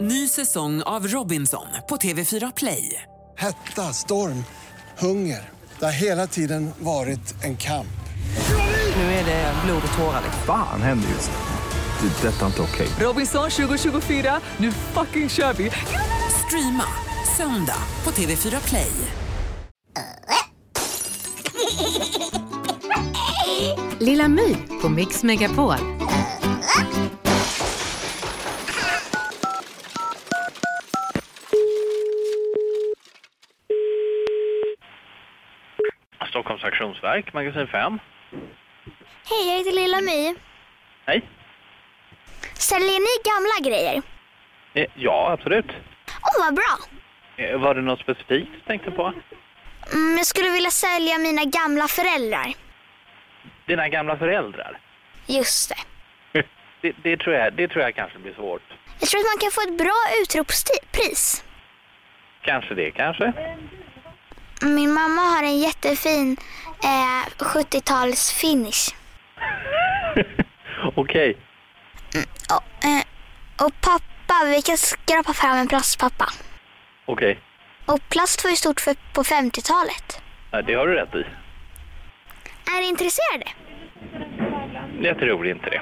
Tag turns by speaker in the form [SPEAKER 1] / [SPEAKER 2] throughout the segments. [SPEAKER 1] Ny säsong av Robinson på TV4 Play.
[SPEAKER 2] Hetta, storm, hunger. Det har hela tiden varit en kamp.
[SPEAKER 1] Nu är det blod och tårar. liksom.
[SPEAKER 3] Fan händer just nu. Det. är Detta är inte okej.
[SPEAKER 1] Robinson 2024, nu fucking kör vi! Streama söndag på TV4 Play.
[SPEAKER 4] Lilla My på Mix Megapol.
[SPEAKER 5] Stockholms Auktionsverk, magasin 5.
[SPEAKER 6] Hej, jag heter Lilla My.
[SPEAKER 5] Hej.
[SPEAKER 6] Säljer ni gamla grejer?
[SPEAKER 5] Eh, Ja, absolut.
[SPEAKER 6] Åh, vad bra!
[SPEAKER 5] Eh, Var det något specifikt du tänkte på?
[SPEAKER 6] Mm, jag skulle vilja sälja mina gamla föräldrar.
[SPEAKER 5] Dina gamla föräldrar?
[SPEAKER 6] Just det.
[SPEAKER 5] Det, det, tror, jag, det tror jag kanske blir svårt.
[SPEAKER 6] Jag tror att man kan få ett bra utropspris.
[SPEAKER 5] Kanske det, kanske.
[SPEAKER 6] Min mamma har en jättefin eh, 70-tals finish.
[SPEAKER 5] Okej.
[SPEAKER 6] Och, eh, och pappa, vi kan skrapa fram en plastpappa.
[SPEAKER 5] Okej.
[SPEAKER 6] Och plast var ju stort för, på 50-talet.
[SPEAKER 5] Ja, Det har du rätt i.
[SPEAKER 6] Är du intresserad?
[SPEAKER 5] Jag tror inte det.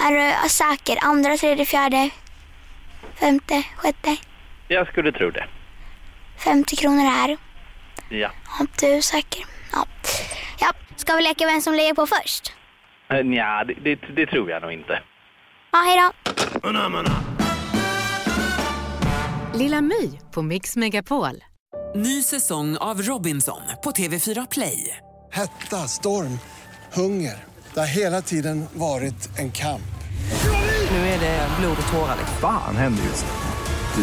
[SPEAKER 6] Är du säker? Andra, tredje, fjärde, femte, sjätte,
[SPEAKER 5] Jag skulle tro det.
[SPEAKER 6] 50 kronor här.
[SPEAKER 5] Ja.
[SPEAKER 6] Om du är säker. Ja. ja. Ska vi leka vem som lägger på först?
[SPEAKER 5] Eh, Nja, det, det, det tror jag nog inte.
[SPEAKER 6] Ja, hej då.
[SPEAKER 4] Lilla My på Mix Megapol.
[SPEAKER 1] Ny säsong av Robinson på TV4 Play.
[SPEAKER 2] Hetta, storm, hunger. Det har hela tiden varit en kamp.
[SPEAKER 1] Nu är det blod och tårar.
[SPEAKER 3] Fan händer just nu.